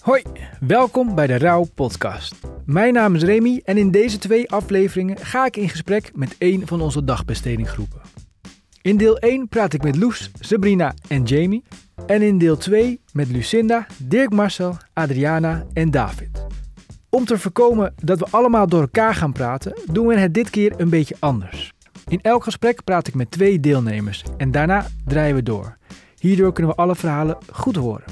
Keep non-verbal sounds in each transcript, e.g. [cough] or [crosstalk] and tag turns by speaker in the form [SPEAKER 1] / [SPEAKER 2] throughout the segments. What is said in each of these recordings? [SPEAKER 1] Hoi, welkom bij de Rauw Podcast. Mijn naam is Remy en in deze twee afleveringen ga ik in gesprek met één van onze dagbestedinggroepen. In deel 1 praat ik met Loes, Sabrina en Jamie. En in deel 2 met Lucinda, Dirk Marcel, Adriana en David. Om te voorkomen dat we allemaal door elkaar gaan praten, doen we het dit keer een beetje anders. In elk gesprek praat ik met twee deelnemers en daarna draaien we door. Hierdoor kunnen we alle verhalen goed horen.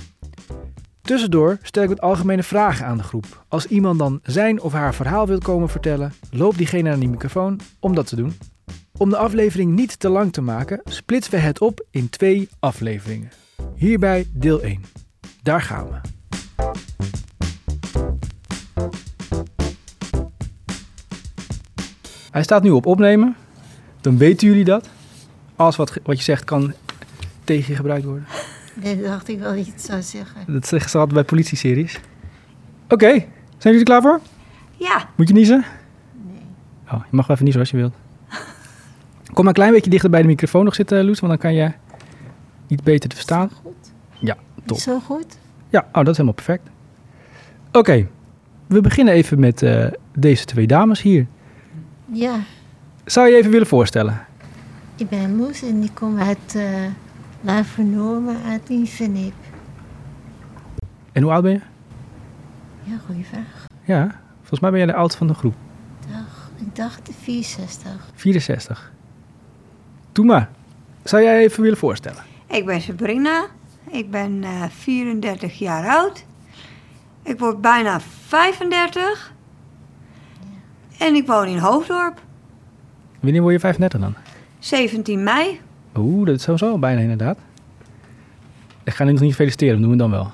[SPEAKER 1] Tussendoor stel ik wat algemene vragen aan de groep. Als iemand dan zijn of haar verhaal wil komen vertellen, loopt diegene naar die microfoon om dat te doen. Om de aflevering niet te lang te maken, splitsen we het op in twee afleveringen. Hierbij deel 1. Daar gaan we. Hij staat nu op opnemen. Dan weten jullie dat. Alles wat, ge- wat je zegt kan tegen je gebruikt worden.
[SPEAKER 2] Nee, dat dacht ik wel dat je het zou zeggen.
[SPEAKER 1] Dat zeggen ze altijd bij politie-series. Oké, zijn jullie er klaar voor?
[SPEAKER 2] Ja.
[SPEAKER 1] Moet je niezen? Nee. Oh, je mag wel even niezen als je wilt. [laughs] Kom maar een klein beetje dichter bij de microfoon nog zitten, Loes, want dan kan je iets beter te verstaan.
[SPEAKER 2] Goed.
[SPEAKER 1] Ja, top.
[SPEAKER 2] Zo goed?
[SPEAKER 1] Ja, oh, dat is helemaal perfect. Oké, we beginnen even met eh, deze twee dames hier.
[SPEAKER 2] Ja.
[SPEAKER 1] Zou je even willen voorstellen?
[SPEAKER 2] Ik ben Moes en ik kom uit eh Lage Normen uit Nieuw-Vennep.
[SPEAKER 1] En hoe oud ben je?
[SPEAKER 2] Ja, goeie vraag.
[SPEAKER 1] Ja, volgens mij ben jij de oudste van de groep.
[SPEAKER 2] Dag. Ik dacht 64.
[SPEAKER 1] 64. Doe maar. Zou jij even willen voorstellen?
[SPEAKER 3] Ik ben Sabrina. Ik ben eh, 34 jaar oud. Ik word bijna 35. En ik woon in Hoofddorp.
[SPEAKER 1] Wanneer word je 35 dan?
[SPEAKER 3] 17 mei.
[SPEAKER 1] Oeh, dat is sowieso al bijna inderdaad. Ik ga nu nog niet feliciteren, dat doen we dan wel.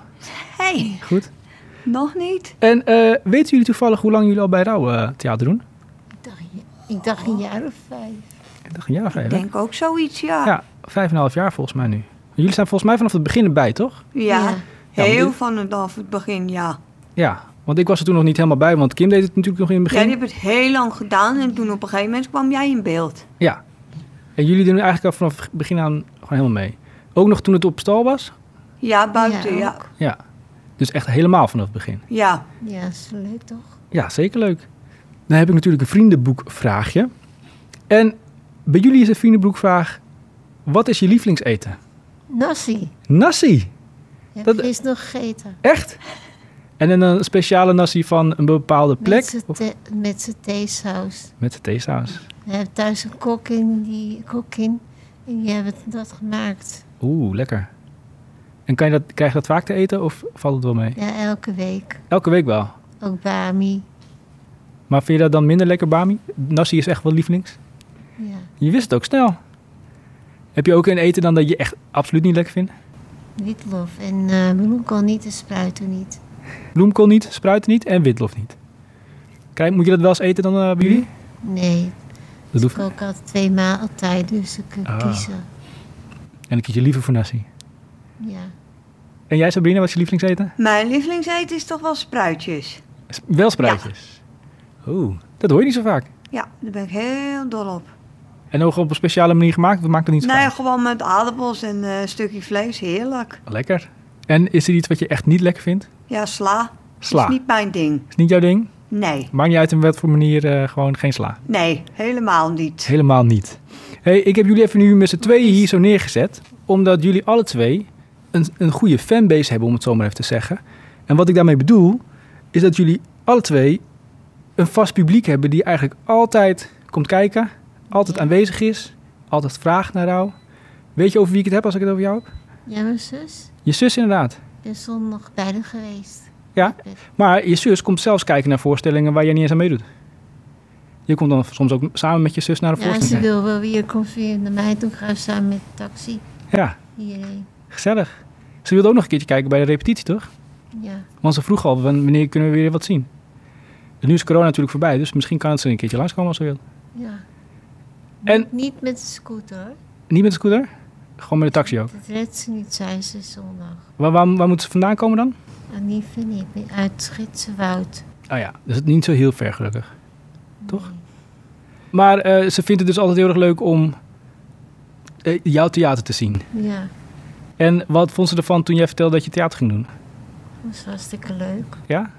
[SPEAKER 3] hey,
[SPEAKER 1] Goed.
[SPEAKER 3] nog niet?
[SPEAKER 1] En eh, weten jullie toevallig hoe lang jullie al bij Rauw eh, Theater doen?
[SPEAKER 2] Ik dacht, ik dacht een jaar of vijf.
[SPEAKER 1] Ik dacht een jaar of vijf,
[SPEAKER 3] Ik
[SPEAKER 1] hè?
[SPEAKER 3] denk ook zoiets, ja.
[SPEAKER 1] Ja, vijf en een half jaar volgens mij nu. Jullie zijn volgens mij vanaf het begin erbij, toch?
[SPEAKER 3] Ja,
[SPEAKER 2] Ja.
[SPEAKER 1] Ja,
[SPEAKER 3] heel
[SPEAKER 1] maar-
[SPEAKER 3] van het, af het begin, ja.
[SPEAKER 1] Ja, want ik was er toen nog niet helemaal bij, want Kim deed het natuurlijk nog in het
[SPEAKER 3] Jij
[SPEAKER 1] begin.
[SPEAKER 3] hebt het heel lang gedaan en toen op een gegeven moment kwam jij in beeld.
[SPEAKER 1] Ja. En jullie doen eigenlijk al vanaf het begin aan gewoon helemaal mee. Ook nog toen het op stal was?
[SPEAKER 3] Ja, buiten,
[SPEAKER 2] Ja,
[SPEAKER 3] ja.
[SPEAKER 2] ook.
[SPEAKER 1] Ja. Dus echt helemaal vanaf het begin.
[SPEAKER 3] Ja,
[SPEAKER 2] Ja, dat is wel leuk toch?
[SPEAKER 1] Ja, zeker leuk. Dan heb ik natuurlijk een vriendenboekvraagje. En bij jullie is de vriendenboekvraag... Wat is je lievelingseten?
[SPEAKER 2] Nassi.
[SPEAKER 1] Nasi!
[SPEAKER 2] Heb
[SPEAKER 1] Dat-
[SPEAKER 2] dat is nog gegeten.
[SPEAKER 1] Echt? En dan een speciale nasi van een bepaalde
[SPEAKER 2] Met
[SPEAKER 1] plek?
[SPEAKER 2] z'n
[SPEAKER 1] Of-
[SPEAKER 2] the- Met zijn theesaus.
[SPEAKER 1] Met de theesaus.
[SPEAKER 2] We hebben thuis een kok in, die kok in. En die hebben dat gemaakt.
[SPEAKER 1] Oeh, lekker. En kan je dat, krijg je dat vaak te eten of valt het wel mee?
[SPEAKER 2] Ja, elke week.
[SPEAKER 1] Elke week wel.
[SPEAKER 2] Ook Bami.
[SPEAKER 1] Maar vind je dat dan minder lekker, Bami? Nasi is echt wel lievelings.
[SPEAKER 2] Ja.
[SPEAKER 1] Je wist het ook snel. Heb je ook een eten dan dat je echt absoluut niet lekker vindt?
[SPEAKER 2] Witlof en eh bloemkool niet en spruiten niet.
[SPEAKER 1] Bloemkool niet, spruiten niet en witlof niet. Krijg, moet je dat wel eens eten dan eh, bij jullie?
[SPEAKER 2] Nee,
[SPEAKER 1] Dat
[SPEAKER 2] ik
[SPEAKER 1] hoeft niet.
[SPEAKER 2] kook altijd twee maal altijd, dus ik kan
[SPEAKER 1] Ah.
[SPEAKER 2] kiezen.
[SPEAKER 1] En dan kies je liever voor nasi.
[SPEAKER 2] Ja.
[SPEAKER 1] En jij, Sabrina, wat is je lievelingseten?
[SPEAKER 3] mijn lievelingseten is toch wel spruitjes.
[SPEAKER 1] S- Wel spruitjes. Oeh, dat hoor je niet zo vaak.
[SPEAKER 3] Ja, daar ben ik heel dol op.
[SPEAKER 1] En ook op een speciale manier gemaakt? Of maakt dat niet zo
[SPEAKER 3] Nee,
[SPEAKER 1] vaak?
[SPEAKER 3] gewoon met aardappels en eh, een stukje vlees. Heerlijk.
[SPEAKER 1] Lekker. En is er iets wat je echt niet lekker vindt?
[SPEAKER 3] Ja, sla.
[SPEAKER 1] Sla.
[SPEAKER 3] Is niet mijn ding.
[SPEAKER 1] Is niet jouw ding?
[SPEAKER 3] Nee.
[SPEAKER 1] Maakt niet uit in wat voor manier, eh, gewoon geen sla.
[SPEAKER 3] Nee, helemaal niet.
[SPEAKER 1] Helemaal niet. hey, ik heb jullie even nu met z'n tweeën hier zo neergezet. Omdat jullie alle twee een, een goede fanbase hebben, om het zo maar even te zeggen. En wat ik daarmee bedoel, is dat jullie alle twee een vast publiek hebben die eigenlijk altijd komt kijken, altijd aanwezig is, altijd vraagt naar jou. Weet je over wie ik het heb als ik het over jou heb?
[SPEAKER 2] ja, mijn zus
[SPEAKER 1] Je zus inderdaad.
[SPEAKER 2] is zondag bij haar geweest.
[SPEAKER 1] Ja, maar je zus komt zelfs kijken naar voorstellingen waar jij niet eens aan meedoet. Je komt dan soms ook samen met je zus naar een
[SPEAKER 2] Ja, en ze
[SPEAKER 1] voorstelling.
[SPEAKER 2] wil wel weer koffie naar mij toe gaan samen met de taxi
[SPEAKER 1] Ja,
[SPEAKER 2] hierheen.
[SPEAKER 1] gezellig. Ze wilde ook nog een keertje kijken bij de repetitie, toch?
[SPEAKER 2] Ja,
[SPEAKER 1] Want ze vroeg al, "Wan- wanneer kunnen we weer wat zien? En nu is corona natuurlijk voorbij, dus misschien kan ze een keertje langskomen als ze wil.
[SPEAKER 2] ja.
[SPEAKER 1] En
[SPEAKER 2] Niet met de scooter hoor.
[SPEAKER 1] niet met de scooter? Gewoon met de taxi ook.
[SPEAKER 2] Dat redt ze niet, zei ze zondag.
[SPEAKER 1] Waar, waar, waar moeten ze vandaan komen dan?
[SPEAKER 2] En die vind ik uit Schitsenwoud.
[SPEAKER 1] Oh ja, dus het niet zo heel ver gelukkig. Toch? Maar eh, ze vindt het dus altijd heel erg leuk om eh, jouw theater te zien.
[SPEAKER 2] Ja,
[SPEAKER 1] En wat vond ze ervan toen jij vertelde dat je theater ging doen?
[SPEAKER 2] Dat was hartstikke leuk.
[SPEAKER 1] Ja?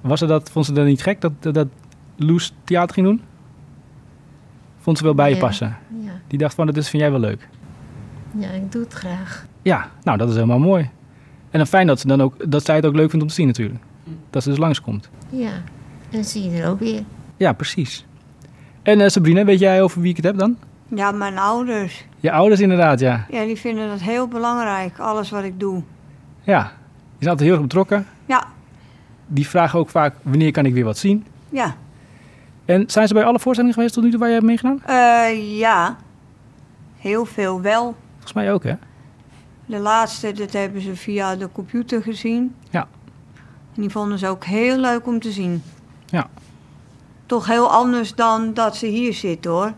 [SPEAKER 1] Was ze dat, vond ze dat niet gek dat, dat, dat Loes theater ging doen? Vond ze wel bij je
[SPEAKER 2] Ja.
[SPEAKER 1] passen?
[SPEAKER 2] Ja.
[SPEAKER 1] Die dacht van, dat is vind jij wel leuk.
[SPEAKER 2] ja, ik doe het graag.
[SPEAKER 1] Ja, nou dat is helemaal mooi. En dan fijn dat, ze dan ook, dat zij het ook leuk vindt om te zien natuurlijk. Dat ze dus langskomt.
[SPEAKER 2] Ja, dan zie je er ook weer.
[SPEAKER 1] Ja, precies. En eh, Sabrina, weet jij over wie ik het heb dan?
[SPEAKER 3] Ja, mijn ouders.
[SPEAKER 1] Je ouders inderdaad, ja.
[SPEAKER 3] Ja, die vinden dat heel belangrijk, alles wat ik doe.
[SPEAKER 1] Ja, die zijn altijd heel erg betrokken.
[SPEAKER 3] Ja,
[SPEAKER 1] Die vragen ook vaak, wanneer kan ik weer wat zien?
[SPEAKER 3] ja.
[SPEAKER 1] En zijn ze bij alle voorstellingen geweest tot nu toe waar jij hebt meegedaan?
[SPEAKER 3] Eh, ja, heel veel wel.
[SPEAKER 1] Volgens mij ook, hè?
[SPEAKER 3] De laatste, dat hebben ze via de computer gezien.
[SPEAKER 1] Ja.
[SPEAKER 3] En die vonden ze ook heel leuk om te zien.
[SPEAKER 1] Ja.
[SPEAKER 3] Toch heel anders dan dat ze hier zit hoor.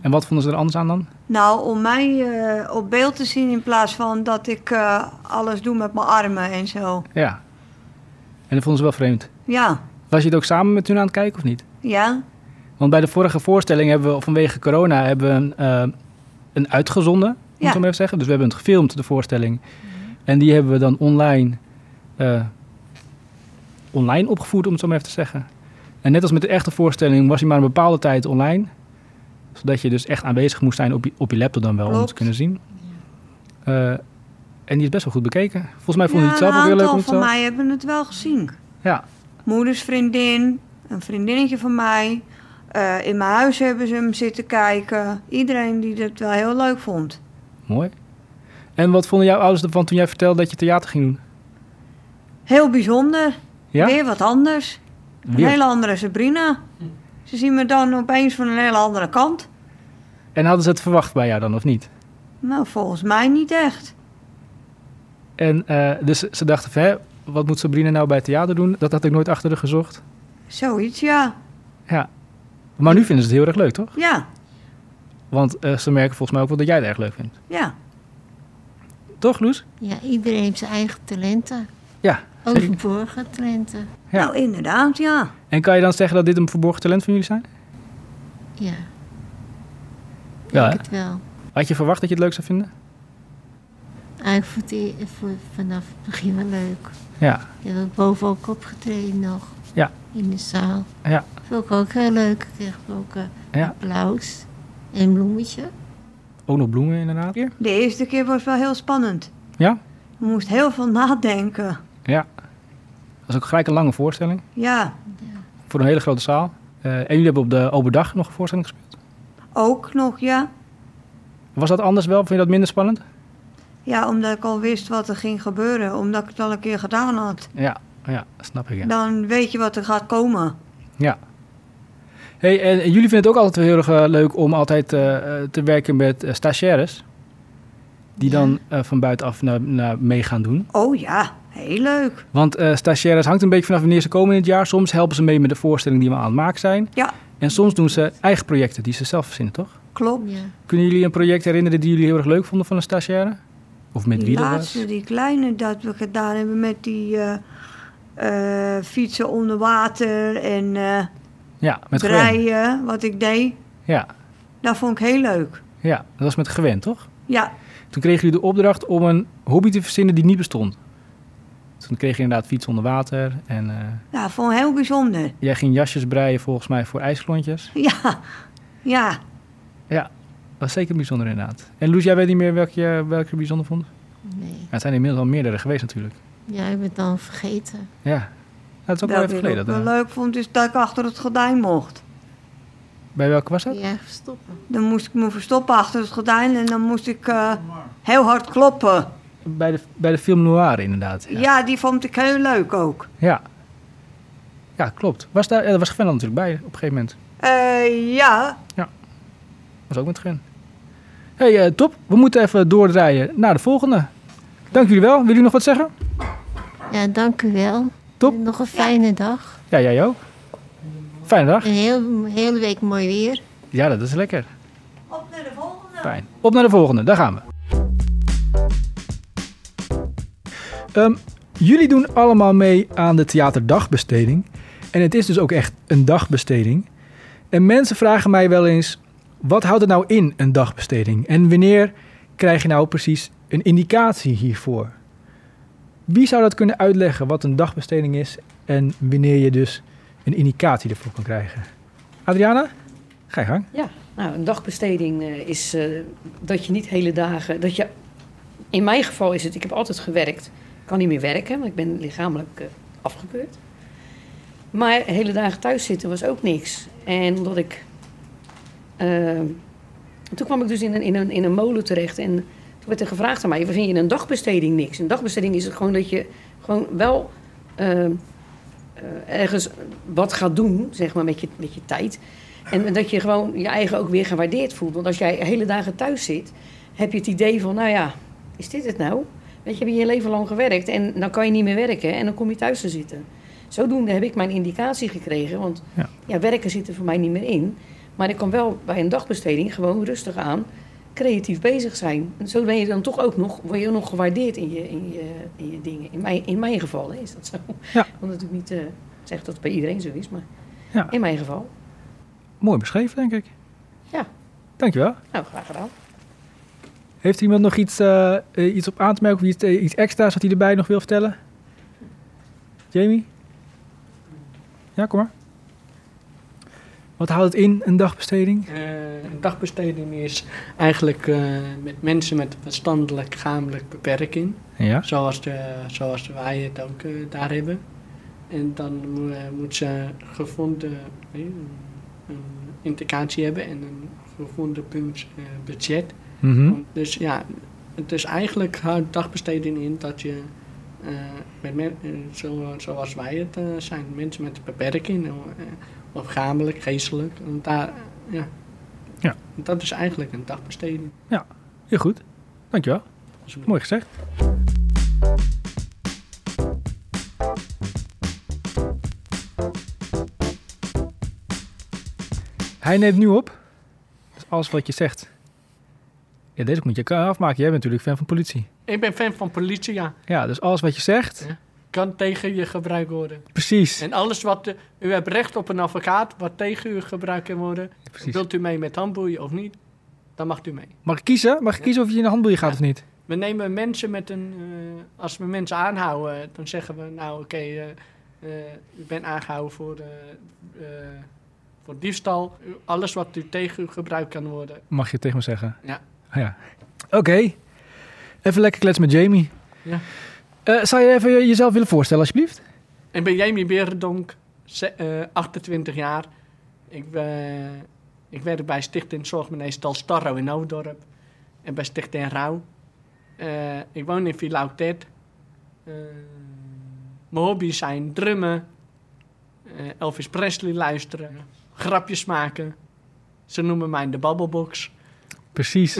[SPEAKER 1] En wat vonden ze er anders aan dan?
[SPEAKER 3] Nou, om mij eh, op beeld te zien in plaats van dat ik eh, alles doe met mijn armen en zo.
[SPEAKER 1] Ja. En dat vonden ze wel vreemd.
[SPEAKER 3] Ja,
[SPEAKER 1] Was je het ook samen met hun aan het kijken of niet?
[SPEAKER 3] ja.
[SPEAKER 1] Want bij de vorige voorstelling hebben we vanwege corona hebben we een, eh, een uitgezonden, moet ik
[SPEAKER 3] Ja.
[SPEAKER 1] zo maar even zeggen. Dus we hebben het gefilmd, de voorstelling. En die hebben we dan online, eh, online opgevoerd, om het zo maar even te zeggen. En net als met de echte voorstelling was hij maar een bepaalde tijd online. Zodat je dus echt aanwezig moest zijn op je, op je laptop dan wel, om het te
[SPEAKER 3] Klopt.
[SPEAKER 1] kunnen zien. Eh, en die is best wel goed bekeken. Volgens mij
[SPEAKER 3] ja
[SPEAKER 1] vonden die het zelf ook heel
[SPEAKER 3] een
[SPEAKER 1] leuk om
[SPEAKER 3] aantal
[SPEAKER 1] te
[SPEAKER 3] van mij hebben het wel gezien.
[SPEAKER 1] Ja,
[SPEAKER 3] Moeders vriendin, een vriendinnetje van mij. eh, in mijn huis hebben ze hem zitten kijken. Iedereen die dat wel heel leuk vond.
[SPEAKER 1] mooi. En wat vonden jouw ouders ervan toen jij vertelde dat je theater ging doen?
[SPEAKER 3] Heel bijzonder.
[SPEAKER 1] Ja?
[SPEAKER 3] Weer wat anders.
[SPEAKER 1] Weer.
[SPEAKER 3] Een hele andere Sabrina. Ze zien me dan opeens van een hele andere kant.
[SPEAKER 1] En hadden ze het verwacht bij jou dan, of niet?
[SPEAKER 3] Nou, volgens mij niet echt.
[SPEAKER 1] En eh, dus ze dachten van, hè, wat moet Sabrina nou bij het theater doen? Dat had ik nooit achter de gezocht.
[SPEAKER 3] Zoiets, ja.
[SPEAKER 1] Ja. Maar nu vinden ze het heel erg leuk, toch?
[SPEAKER 3] Ja,
[SPEAKER 1] Want eh, ze merken volgens mij ook wel dat jij het erg leuk vindt.
[SPEAKER 3] ja.
[SPEAKER 1] Toch, Loes?
[SPEAKER 2] Ja, iedereen heeft zijn eigen talenten.
[SPEAKER 1] Ja.
[SPEAKER 2] Ook
[SPEAKER 1] zeker.
[SPEAKER 2] verborgen talenten.
[SPEAKER 1] Ja.
[SPEAKER 3] Nou, inderdaad, ja.
[SPEAKER 1] En kan je dan zeggen dat dit een verborgen talent van jullie zijn?
[SPEAKER 2] Ja. Ik
[SPEAKER 1] Ja,
[SPEAKER 2] denk
[SPEAKER 1] hè?
[SPEAKER 2] het wel.
[SPEAKER 1] Had je verwacht dat je het leuk zou vinden?
[SPEAKER 2] Eigenlijk vond ik het voor- vanaf het begin wel leuk.
[SPEAKER 1] Ja.
[SPEAKER 2] Je hebt boven ook opgetreden nog.
[SPEAKER 1] Ja.
[SPEAKER 2] In de zaal.
[SPEAKER 1] Ja.
[SPEAKER 2] Vond ik ook heel leuk. Ik kreeg ook eh,
[SPEAKER 1] Ja.
[SPEAKER 2] applaus. En een bloemetje.
[SPEAKER 1] Ook nog bloemen inderdaad. Ja.
[SPEAKER 3] De eerste keer was wel heel spannend.
[SPEAKER 1] Ja?
[SPEAKER 3] Je moest heel veel nadenken.
[SPEAKER 1] Dat is ook gelijk een lange voorstelling.
[SPEAKER 3] Ja,
[SPEAKER 1] Voor een hele grote zaal. Eh, en jullie hebben op de open dag nog een voorstelling gespeeld.
[SPEAKER 3] ook nog, ja.
[SPEAKER 1] Was dat anders wel? Vond je dat minder spannend?
[SPEAKER 3] Ja, omdat ik al wist wat er ging gebeuren. Omdat ik het al een keer gedaan had.
[SPEAKER 1] Ja. Ja, snap ik. Ja.
[SPEAKER 3] Dan weet je wat er gaat komen.
[SPEAKER 1] Ja. Hey, en jullie vinden het ook altijd wel heel erg eh, leuk om altijd eh, eh, te werken met eh, stagiaires. Die
[SPEAKER 2] Ja.
[SPEAKER 1] dan eh, van buitenaf naar, naar mee gaan doen.
[SPEAKER 3] Oh ja, heel leuk.
[SPEAKER 1] Want eh, stagiaires hangt een beetje vanaf wanneer ze komen in het jaar. Soms helpen ze mee met de voorstelling die we aan het maken zijn.
[SPEAKER 3] Ja.
[SPEAKER 1] En soms doen ze eigen projecten die ze zelf verzinnen, toch?
[SPEAKER 3] Klopt.
[SPEAKER 2] Ja.
[SPEAKER 1] Kunnen jullie een project herinneren die jullie heel erg leuk vonden van een stagiaire? Of met
[SPEAKER 3] die
[SPEAKER 1] wie dat was?
[SPEAKER 3] laatste, die kleine dat we gedaan hebben met die eh, eh, fietsen onder water en eh
[SPEAKER 1] Ja, met Gwen.
[SPEAKER 3] breien, wat ik deed.
[SPEAKER 1] Ja,
[SPEAKER 3] Dat vond ik heel leuk.
[SPEAKER 1] ja, dat was met Gwen, toch?
[SPEAKER 3] Ja,
[SPEAKER 1] Toen kregen jullie de opdracht om een hobby te verzinnen die niet bestond. Toen kreeg je inderdaad fiets onder water en... eh,
[SPEAKER 3] dat vond ik heel bijzonder. [laughs]
[SPEAKER 1] Jij ging jasjes breien volgens mij voor ijsklontjes.
[SPEAKER 3] Ja, ja.
[SPEAKER 1] Dat was zeker bijzonder inderdaad. En Loes, jij weet niet meer welke je, welke je bijzonder vond?
[SPEAKER 2] Nee.
[SPEAKER 1] Ja, het zijn inmiddels al meerdere geweest natuurlijk.
[SPEAKER 2] Ja, ik ben het dan vergeten.
[SPEAKER 1] Ja, Ja, dat is ook wel
[SPEAKER 3] Welke
[SPEAKER 1] even
[SPEAKER 3] ik
[SPEAKER 1] geleden.
[SPEAKER 3] ook wel
[SPEAKER 1] dat, eh,
[SPEAKER 3] leuk vond is dat ik achter het gordijn mocht.
[SPEAKER 1] bij welke was dat?
[SPEAKER 2] Ja, verstoppen.
[SPEAKER 3] Dan moest ik me verstoppen achter het gordijn en dan moest ik eh, heel hard kloppen.
[SPEAKER 1] Bij, de, bij de film Noir inderdaad.
[SPEAKER 3] Ja.
[SPEAKER 1] Ja,
[SPEAKER 3] die vond ik heel leuk ook.
[SPEAKER 1] ja. Ja, klopt. Was daar, ja, daar was Gwen dan natuurlijk bij op een gegeven moment.
[SPEAKER 3] Eh, ja,
[SPEAKER 1] Was ook met Gwen. hey, eh, top. We moeten even doordraaien naar de volgende. Dank jullie wel. Wil jullie nog wat zeggen?
[SPEAKER 2] Ja, dank u wel.
[SPEAKER 1] Top.
[SPEAKER 2] Nog een fijne dag.
[SPEAKER 1] Ja, jij ook. Fijne dag.
[SPEAKER 2] Een heel, hele week mooi weer.
[SPEAKER 1] Ja, dat is lekker.
[SPEAKER 3] op naar de volgende.
[SPEAKER 1] Fijn. Op naar de volgende, daar gaan we. Ehm, jullie doen allemaal mee aan de theaterdagbesteding. En het is dus ook echt een dagbesteding. En mensen vragen mij wel eens: wat houdt het nou in, een dagbesteding? En wanneer krijg je nou precies een indicatie hiervoor? Wie zou dat kunnen uitleggen wat een dagbesteding is en wanneer je dus een indicatie ervoor kan krijgen? Adriana, ga je gang.
[SPEAKER 4] Nou, een dagbesteding eh, is eh, dat je niet hele dagen. Dat je, in mijn geval is het, ik heb altijd gewerkt. Ik kan niet meer werken, want ik ben lichamelijk eh, afgekeurd. Maar hele dagen thuis zitten was ook niks. En omdat ik. eh, toen kwam ik dus in een, in, een, in een molen terecht. En toen werd er gevraagd aan mij: vind je in een dagbesteding niks? Een dagbesteding is het gewoon dat je gewoon wel. eh, eh, ergens wat gaat doen, zeg maar, met je, met je tijd. En dat je gewoon je eigen ook weer gewaardeerd voelt. Want als jij hele dagen thuis zit, heb je het idee van, nou ja, is dit het nou? Weet je, heb je je leven lang gewerkt en dan kan je niet meer werken en dan kom je thuis te zitten. Zodoende heb ik mijn indicatie gekregen, want
[SPEAKER 1] Ja.
[SPEAKER 4] ja. werken zit er voor mij niet meer in. Maar ik kan wel bij een dagbesteding gewoon rustig aan creatief bezig zijn. En zo ben je dan toch ook nog, word je nog gewaardeerd in je, in je, in je dingen. In mijn, in mijn geval hè, is dat zo.
[SPEAKER 1] Ja.
[SPEAKER 4] Ik wil natuurlijk niet eh, zeggen dat het bij iedereen zo is, maar
[SPEAKER 1] Ja.
[SPEAKER 4] in mijn geval.
[SPEAKER 1] Mooi beschreven, denk ik.
[SPEAKER 4] Ja.
[SPEAKER 1] Dankjewel.
[SPEAKER 4] Nou, graag gedaan.
[SPEAKER 1] Heeft iemand nog iets, eh, eh, iets op aan te merken of iets, eh, iets extra's wat hij erbij nog wil vertellen? Jamie? Ja, kom maar. Wat houdt het in, een dagbesteding?
[SPEAKER 5] Eh, een dagbesteding is eigenlijk eh, met mensen met een verstandelijk lichamelijk beperking.
[SPEAKER 1] Ja.
[SPEAKER 5] Zoals, de, zoals wij het ook eh, daar hebben. En dan mo- eh, moet ze gevonden nee, een, een indicatie hebben en een gevonden punt eh, budget.
[SPEAKER 1] Mhm.
[SPEAKER 5] Dus ja, het is eigenlijk houdt dagbesteding in dat je eh, met men, eh, zo, zoals wij het eh, zijn, mensen met een beperking, eh, of gamelijk, geestelijk. En daar, eh, ja.
[SPEAKER 1] Ja.
[SPEAKER 5] Dat is eigenlijk een dagbesteding.
[SPEAKER 1] Heel goed. Dankjewel. Mooi gezegd. Hij neemt nu op. Dat is alles wat je zegt. Ja, deze moet je ka- afmaken. Jij bent natuurlijk fan van politie.
[SPEAKER 5] Ik ben fan van politie, ja.
[SPEAKER 1] Ja, dus alles wat je zegt.
[SPEAKER 5] Kan tegen je gebruikt worden.
[SPEAKER 1] Precies.
[SPEAKER 5] En alles wat... eh, u hebt recht op een advocaat wat tegen u gebruikt kan worden.
[SPEAKER 1] precies.
[SPEAKER 5] Wilt u mee met handboeien of niet? Dan mag u mee.
[SPEAKER 1] Mag ik kiezen? Mag ik kiezen of je in de handboeien gaat of niet?
[SPEAKER 5] We nemen mensen met een... eh, als we mensen aanhouden, eh, dan zeggen we... Nou, oké, eh, eh, u bent aangehouden voor, eh, eh, voor diefstal. U- Alles wat u tegen u gebruikt kan worden.
[SPEAKER 1] Mag je het tegen me zeggen?
[SPEAKER 5] Ja.
[SPEAKER 1] Ah, ja. Oké. Even lekker kletsen met Jamie.
[SPEAKER 5] Ja.
[SPEAKER 1] Eh, zou je even je- jezelf willen voorstellen, alsjeblieft?
[SPEAKER 5] Ik ben Jamie Berendonk, ze- eh, 28 jaar. Ik, ben- ik werk bij Stichting Zorgmeneestal Starro in Oudorp. En bij Stichting Rauw. Eh, ik woon in Villa Octet. Eh, mijn hobby's zijn drummen. eh, Elvis Presley luisteren. Grapjes maken. Ze noemen mij de Babbelbox.
[SPEAKER 1] Precies.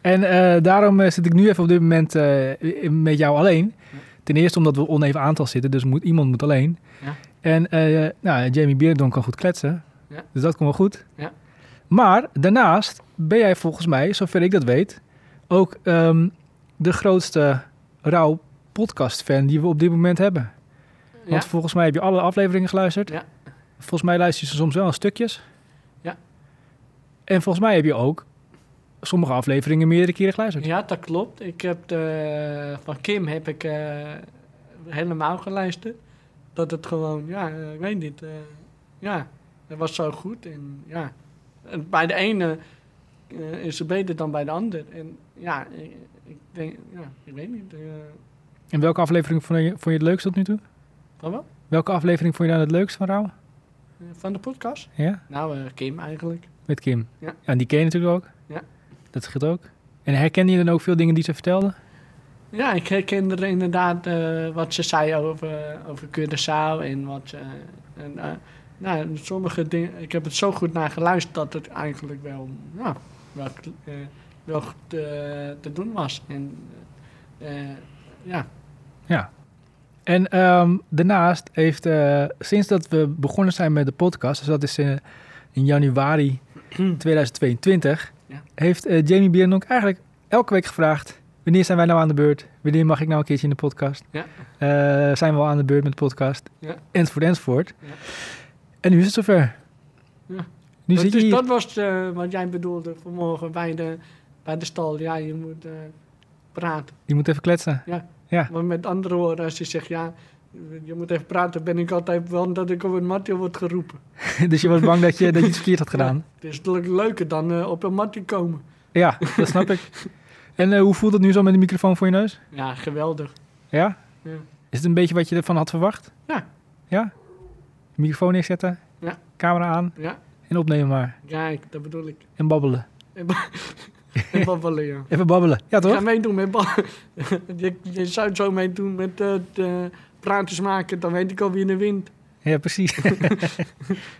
[SPEAKER 1] en eh, daarom eh, zit ik nu even op dit moment eh, met jou alleen. Ten eerste omdat we oneven aantal zitten, dus moet, iemand moet alleen.
[SPEAKER 5] Ja.
[SPEAKER 1] En eh, nou, Jamie Beerdon kan goed kletsen,
[SPEAKER 5] Ja.
[SPEAKER 1] dus dat komt wel goed.
[SPEAKER 5] Ja.
[SPEAKER 1] Maar daarnaast ben jij volgens mij, zover ik dat weet, ook ehm, de grootste rauw podcast fan die we op dit moment hebben. Want
[SPEAKER 5] Ja.
[SPEAKER 1] volgens mij heb je alle afleveringen geluisterd.
[SPEAKER 5] Ja.
[SPEAKER 1] Volgens mij luister je ze soms wel aan stukjes.
[SPEAKER 5] Ja.
[SPEAKER 1] En volgens mij heb je ook sommige afleveringen meerdere keren geluisterd.
[SPEAKER 5] Ja, dat klopt. Ik heb de, van Kim heb ik eh, helemaal geluisterd. Dat het gewoon, ja, eh, ik weet niet. eh, ja, dat was zo goed. En ja, en bij de ene eh, is het beter dan bij de ander. En ja, ik, ik denk, ja, ik weet niet. eh
[SPEAKER 1] En welke aflevering vond je, vond je het leukst tot nu toe?
[SPEAKER 5] van wel?
[SPEAKER 1] Welke aflevering vond je dan het leukst van Rauw?
[SPEAKER 5] Eh, Van de podcast?
[SPEAKER 1] Ja,
[SPEAKER 5] Nou, eh, Kim eigenlijk.
[SPEAKER 1] met Kim.
[SPEAKER 5] Ja.
[SPEAKER 1] En die ken je natuurlijk ook.
[SPEAKER 5] Ja.
[SPEAKER 1] Dat scheelt ook. En herkende je dan ook veel dingen die ze vertelde?
[SPEAKER 5] Ja, ik herken er inderdaad eh, wat ze zei over, over Curaçao en wat... eh, en, eh, nou, sommige dingen... Ik heb het zo goed naar geluisterd dat het eigenlijk wel, ja, wel, eh, wel goed, eh, te doen was. En eh, eh, ja,
[SPEAKER 1] En ehm, daarnaast heeft, eh, sinds dat we begonnen zijn met de podcast, dus dat is eh, in januari 2022,
[SPEAKER 5] Hmm. Ja.
[SPEAKER 1] heeft eh, Jamie Bierendonk eigenlijk elke week gevraagd, wanneer zijn wij nou aan de beurt? Wanneer mag ik nou een keertje in de podcast?
[SPEAKER 5] Ja.
[SPEAKER 1] Eh, zijn we al aan de beurt met de podcast?
[SPEAKER 5] Ja.
[SPEAKER 1] Enzovoort, enzovoort.
[SPEAKER 5] Ja.
[SPEAKER 1] En nu is het zover.
[SPEAKER 5] Ja.
[SPEAKER 1] Nu
[SPEAKER 5] dat,
[SPEAKER 1] zit je
[SPEAKER 5] is,
[SPEAKER 1] hier.
[SPEAKER 5] dat was eh, wat jij bedoelde vanmorgen bij de, bij de stal. Ja, je moet eh, praten.
[SPEAKER 1] Je moet even kletsen. [laughs]
[SPEAKER 5] Ja.
[SPEAKER 1] Ja.
[SPEAKER 5] Maar met andere woorden, als je zegt ja, je moet even praten, ben ik altijd bang dat ik op een matje word geroepen.
[SPEAKER 1] dus je was bang dat je, dat je iets verkeerd had gedaan.
[SPEAKER 5] Het is natuurlijk leuker dan eh, op een matje komen.
[SPEAKER 1] Ja, dat snap ik. En eh, hoe voelt het nu zo met de microfoon voor je neus?
[SPEAKER 5] Ja, geweldig.
[SPEAKER 1] Ja?
[SPEAKER 5] Ja.
[SPEAKER 1] Is het een beetje wat je ervan had verwacht?
[SPEAKER 5] Ja.
[SPEAKER 1] Ja? Microfoon neerzetten,
[SPEAKER 5] Ja.
[SPEAKER 1] camera aan
[SPEAKER 5] Ja,
[SPEAKER 1] en opnemen maar.
[SPEAKER 5] kijk, dat bedoel ik.
[SPEAKER 1] En babbelen.
[SPEAKER 5] En ba-
[SPEAKER 1] [laughs]
[SPEAKER 5] en babbelen, ja.
[SPEAKER 1] Even babbelen. Ja, toch?
[SPEAKER 5] Ga meedoen met ba- [laughs] je, je zou het zo meedoen met eh de praatjes maken, dan weet ik al wie in de wind.
[SPEAKER 1] Ja,
[SPEAKER 5] [laughs]
[SPEAKER 1] precies.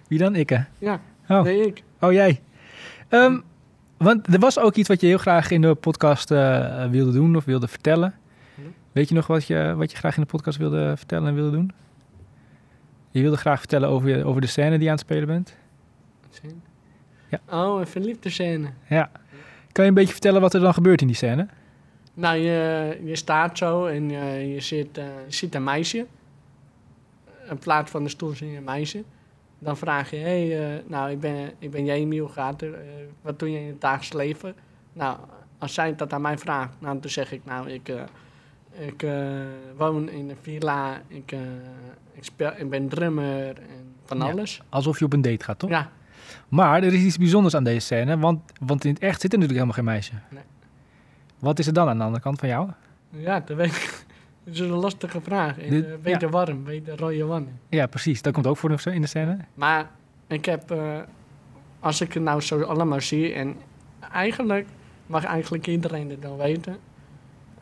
[SPEAKER 1] Wie dan? Ik, hè?
[SPEAKER 5] Ja,
[SPEAKER 1] Oh.
[SPEAKER 5] nee ik.
[SPEAKER 1] Oh, jij. Ehm, want er was ook iets wat je heel graag in de podcast eh, wilde doen of wilde vertellen.
[SPEAKER 5] Hm.
[SPEAKER 1] Weet je nog wat je, wat je graag in de podcast wilde vertellen en wilde doen? Je wilde graag vertellen over, je, over de scène die je aan het spelen bent. Ja.
[SPEAKER 5] Oh, een verliefde scène.
[SPEAKER 1] Ja. Kan je een beetje vertellen wat er dan gebeurt in die scène?
[SPEAKER 5] Nou, je, je staat zo en eh, je zit, eh, je ziet een meisje. In plaats van de stoel zie je een meisje. Dan vraag je, hé, hey, eh, nou, ik ben, ik ben Jamie, hoe gaat het? Eh, wat doe je in het dagelijks leven? Nou, als zij dat aan mij vraagt, nou, dan zeg ik, nou, ik, eh, ik eh, woon in een villa. Ik, eh, ik, speel, ik ben drummer en van
[SPEAKER 1] Ja.
[SPEAKER 5] alles.
[SPEAKER 1] Alsof je op een date gaat, toch?
[SPEAKER 5] Ja,
[SPEAKER 1] Maar er is iets bijzonders aan deze scène, want, want in het echt zit er natuurlijk helemaal geen meisje.
[SPEAKER 5] Nee.
[SPEAKER 1] Wat is er dan aan de andere kant van jou?
[SPEAKER 5] ja, dat weet ik. [laughs] Dat is een lastige vraag. En,
[SPEAKER 1] Dit-
[SPEAKER 5] eh, weet
[SPEAKER 1] ja.
[SPEAKER 5] de warm, weet de rode wannen.
[SPEAKER 1] Ja, precies. Dat komt ook voor in de scène.
[SPEAKER 5] Maar ik heb, eh, als ik het nou zo allemaal zie, en eigenlijk mag eigenlijk iedereen het dan weten.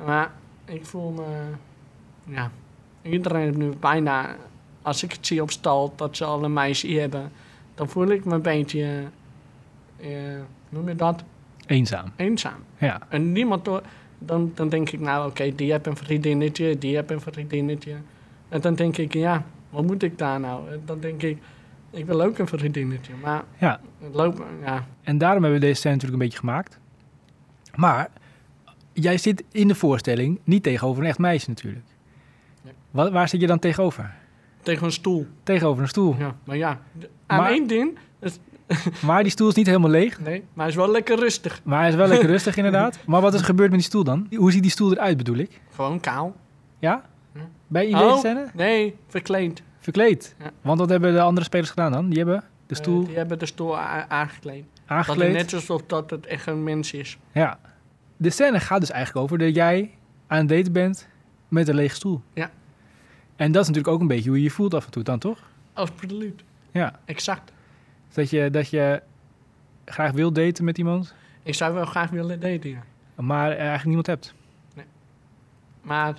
[SPEAKER 5] Maar ik voel me, ja, iedereen heeft nu bijna, als ik het zie op stal, dat ze alle meisjes hier hebben, dan voel ik me een beetje, eh, noem je dat,
[SPEAKER 1] Eenzaam.
[SPEAKER 5] eenzaam.
[SPEAKER 1] Ja.
[SPEAKER 5] En niemand, hoor- dan, dan denk ik nou, oké, die heb een vriendinnetje, die heb een vriendinnetje. En dan denk ik, ja, wat moet ik daar nou? En dan denk ik, ik wil ook een vriendinnetje. Maar
[SPEAKER 1] Ja.
[SPEAKER 5] het loopt, ja,
[SPEAKER 1] En daarom hebben we deze scène natuurlijk een beetje gemaakt. Maar jij zit in de voorstelling niet tegenover een echt meisje natuurlijk.
[SPEAKER 5] Nee.
[SPEAKER 1] Wa- waar zit je dan tegenover?
[SPEAKER 5] tegen een stoel.
[SPEAKER 1] Tegenover een
[SPEAKER 5] [laughs]
[SPEAKER 1] stoel.
[SPEAKER 5] Ja, maar ja, d- aan
[SPEAKER 1] Maar-
[SPEAKER 5] één ding,
[SPEAKER 1] Maar die stoel is niet helemaal leeg.
[SPEAKER 5] nee, maar hij is wel lekker rustig.
[SPEAKER 1] Maar hij is wel lekker rustig
[SPEAKER 5] [laughs]
[SPEAKER 1] inderdaad. Maar wat is er gebeurd met die stoel dan? Hoe ziet die stoel eruit bedoel ik?
[SPEAKER 5] Gewoon kaal.
[SPEAKER 1] Ja?
[SPEAKER 5] Ja.
[SPEAKER 1] Bij
[SPEAKER 5] Oh,
[SPEAKER 1] iedereen scène?
[SPEAKER 5] Nee, verkleed.
[SPEAKER 1] Verkleed.
[SPEAKER 5] Ja.
[SPEAKER 1] Want wat hebben de andere spelers gedaan dan? Die hebben de
[SPEAKER 5] Eh,
[SPEAKER 1] stoel
[SPEAKER 5] die hebben de stoel a- aangekleed. Dat
[SPEAKER 1] aangekleed.
[SPEAKER 5] is net alsof dat het echt een mens is.
[SPEAKER 1] Ja. De scène gaat dus eigenlijk over dat jij aan het daten bent met een lege stoel.
[SPEAKER 5] Ja.
[SPEAKER 1] En dat is natuurlijk ook een beetje hoe je je voelt af en toe dan, toch?
[SPEAKER 5] Absoluut,
[SPEAKER 1] Ja.
[SPEAKER 5] exact.
[SPEAKER 1] Dus Dat je, dat je graag wil daten met iemand,
[SPEAKER 5] Ik zou wel graag willen daten, ja.
[SPEAKER 1] maar er eigenlijk niemand hebt.
[SPEAKER 5] Maar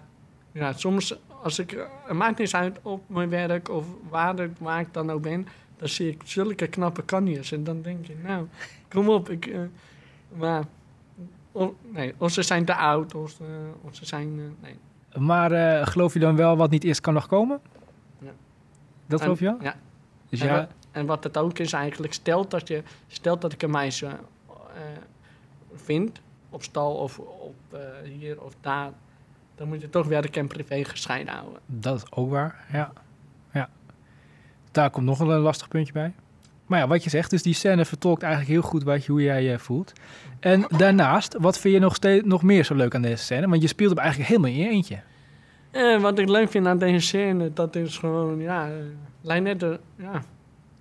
[SPEAKER 5] ja, soms, als ik, het maakt niet uit op mijn werk of waar ik, waar ik dan ook ben, dan zie ik zulke knappe kanjes. En dan denk je, nou, kom op. Ik, eh, maar, of, nee, of ze zijn te oud, of, ze- of ze zijn. eh, nee.
[SPEAKER 1] Maar eh, geloof je dan wel wat niet eerst kan nog komen?
[SPEAKER 5] Ja.
[SPEAKER 1] Dat
[SPEAKER 5] En-
[SPEAKER 1] geloof je wel?
[SPEAKER 5] ja.
[SPEAKER 1] Dus
[SPEAKER 5] En,
[SPEAKER 1] ja,
[SPEAKER 5] wat, en wat het ook is eigenlijk, stelt dat, je, stelt dat ik een meisje eh, vind, op stal of op, eh, hier of daar, dan moet je toch werk en privé gescheiden houden.
[SPEAKER 1] dat is ook waar. Ja. ja. Daar komt nog een lastig puntje bij. Maar ja, wat je zegt, dus die scène vertolkt eigenlijk heel goed wat je, hoe jij je voelt. En daarnaast, wat vind je nog, steeds, nog meer zo leuk aan deze scène? Want je speelt hem eigenlijk helemaal in je eentje.
[SPEAKER 5] Eh, wat ik leuk vind aan deze scène, dat is gewoon, ja, eh, lijkt net, eh, ja,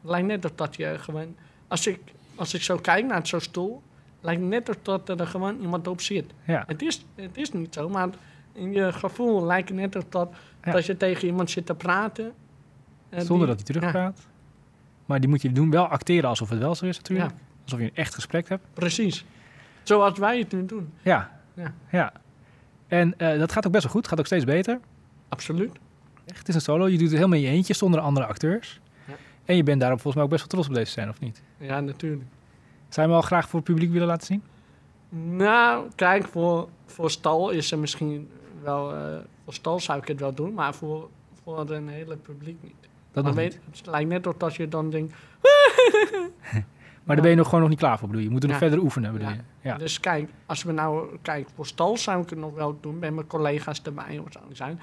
[SPEAKER 5] lijkt net of dat je gewoon, als ik, als ik zo kijk naar zo'n stoel, lijkt net of dat er gewoon iemand op zit.
[SPEAKER 1] Ja,
[SPEAKER 5] Het is, het is niet zo, maar in je gevoel lijkt het net of dat,
[SPEAKER 1] Ja.
[SPEAKER 5] dat je tegen iemand zit te praten. eh,
[SPEAKER 1] zonder
[SPEAKER 5] die-
[SPEAKER 1] dat hij terugpraat. Maar die moet je doen, wel acteren alsof het wel zo is natuurlijk.
[SPEAKER 5] Ja.
[SPEAKER 1] Alsof je een echt gesprek hebt.
[SPEAKER 5] Ja, precies. Zoals wij het nu doen.
[SPEAKER 1] Ja.
[SPEAKER 5] Ja.
[SPEAKER 1] ja. En eh, dat gaat ook best wel goed. Gaat ook steeds beter.
[SPEAKER 5] Absoluut.
[SPEAKER 1] Echt, het is een solo. Je doet het helemaal in je eentje zonder andere acteurs.
[SPEAKER 5] Ja.
[SPEAKER 1] En je bent daarom volgens mij ook best wel trots op deze scène, of niet?
[SPEAKER 5] Ja, natuurlijk.
[SPEAKER 1] Zou je hem al graag voor het publiek willen laten zien?
[SPEAKER 5] Nou, kijk, voor, voor stal is er misschien wel... eh, voor stal zou ik het wel doen, maar voor, voor een hele publiek niet.
[SPEAKER 1] Dat
[SPEAKER 5] dan
[SPEAKER 1] nog
[SPEAKER 5] weet,
[SPEAKER 1] niet.
[SPEAKER 5] Het lijkt net of dat je dan denkt...
[SPEAKER 1] Maar daar ben je nog gewoon nog niet klaar voor, bedoel je? Je moet er nog
[SPEAKER 5] Ja.
[SPEAKER 1] verder oefenen, bedoel
[SPEAKER 5] Ja.
[SPEAKER 1] je? Ja.
[SPEAKER 5] Dus kijk, als we nou... Kijk, voor stal zou ik het nog wel doen, met mijn collega's erbij of zo zijn.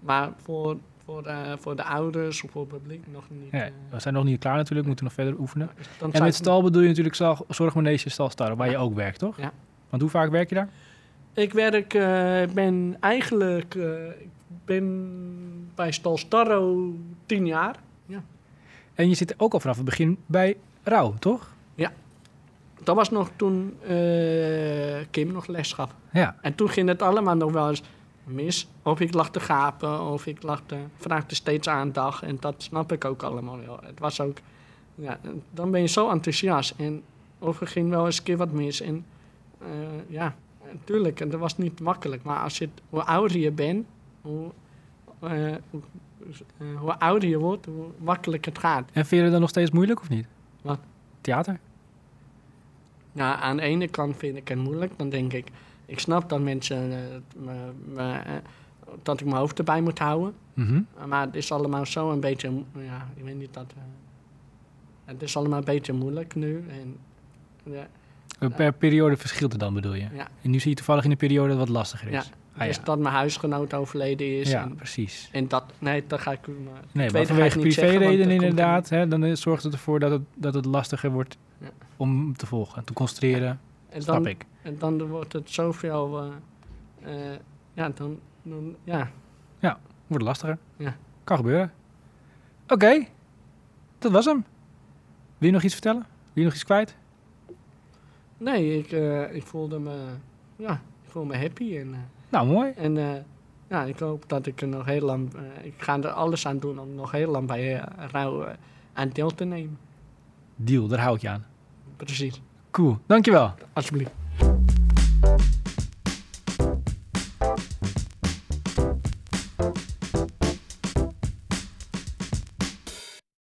[SPEAKER 5] Maar voor, voor, eh, voor de ouders of voor het publiek nog niet.
[SPEAKER 1] Ja,
[SPEAKER 5] eh.
[SPEAKER 1] we zijn nog niet klaar natuurlijk, we moeten nog verder oefenen.
[SPEAKER 5] Dus dan
[SPEAKER 1] En
[SPEAKER 5] zou
[SPEAKER 1] met
[SPEAKER 5] ik-
[SPEAKER 1] stal bedoel je natuurlijk zal- Zorgmanege Stalstar, waar
[SPEAKER 5] Ja.
[SPEAKER 1] je ook werkt, toch?
[SPEAKER 5] Ja.
[SPEAKER 1] Want hoe vaak werk je daar?
[SPEAKER 5] Ik werk, eh, ik ben eigenlijk, eh, ik ben bij Stalstarro tien jaar.
[SPEAKER 1] En je zit ook al vanaf het begin bij Rauw, toch?
[SPEAKER 5] Dat was nog toen eh, Kim nog les gaf.
[SPEAKER 1] Ja.
[SPEAKER 5] En toen ging het allemaal nog wel eens mis. Of ik lag te gapen, of ik lag te, vraagde steeds aandacht. En dat snap ik ook allemaal wel. Het was ook, ja, dan ben je zo enthousiast. En of er ging wel eens een keer wat mis. En eh, ja, natuurlijk, en dat was niet makkelijk. Maar als je, het- hoe ouder je bent, hoe, eh, hoe, eh, hoe ouder je wordt, hoe makkelijk het gaat.
[SPEAKER 1] En vind je het dan nog steeds moeilijk of niet?
[SPEAKER 5] Wat?
[SPEAKER 1] Theater?
[SPEAKER 5] Nou, aan de ene kant vind ik het moeilijk. Dan denk ik, ik snap dat mensen eh, me- me, eh, dat ik mijn hoofd erbij moet houden.
[SPEAKER 1] Mhm.
[SPEAKER 5] Maar het is allemaal zo een beetje, mo- ja, ik weet niet dat. eh, het is allemaal een beetje moeilijk nu. En, eh, ja,
[SPEAKER 1] Ah, Per periode verschilt het dan, bedoel je?
[SPEAKER 5] Ja.
[SPEAKER 1] En nu zie je toevallig in een periode dat het wat lastiger is.
[SPEAKER 5] Ja.
[SPEAKER 1] Ah,
[SPEAKER 5] dus
[SPEAKER 1] ja.
[SPEAKER 5] dat mijn huisgenoot overleden is.
[SPEAKER 1] ja,
[SPEAKER 5] En,
[SPEAKER 1] precies.
[SPEAKER 5] en dat, nee, dat ga ik. eh, u
[SPEAKER 1] Nee,
[SPEAKER 5] maar-
[SPEAKER 1] maar
[SPEAKER 5] tweede ga
[SPEAKER 1] vanwege
[SPEAKER 5] ik niet zeggen, want
[SPEAKER 1] privéreden
[SPEAKER 5] dat komt
[SPEAKER 1] inderdaad, hè, dan eh, zorgt het ervoor dat het, dat het lastiger wordt
[SPEAKER 5] Ja.
[SPEAKER 1] om te volgen, te concentreren.
[SPEAKER 5] en
[SPEAKER 1] Snap
[SPEAKER 5] dan,
[SPEAKER 1] ik.
[SPEAKER 5] en dan wordt het zoveel. eh, eh, ja, dan, dan. Ja,
[SPEAKER 1] Wordt lastiger.
[SPEAKER 5] Ja.
[SPEAKER 1] Kan gebeuren. Oké, dat was hem. Wil je nog iets vertellen? Wil je nog iets kwijt?
[SPEAKER 5] nee, ik, eh, ik voelde me. Ja, ik voel me happy. En, eh,
[SPEAKER 1] Nou, mooi.
[SPEAKER 5] En eh, ja, ik hoop dat ik er nog heel lang. eh, ik ga er alles aan doen om nog heel lang bij eh Rauw eh, aan deel te nemen.
[SPEAKER 1] Deal, daar hou ik je aan.
[SPEAKER 5] Precies.
[SPEAKER 1] Cool, dankjewel.
[SPEAKER 5] Alsjeblieft.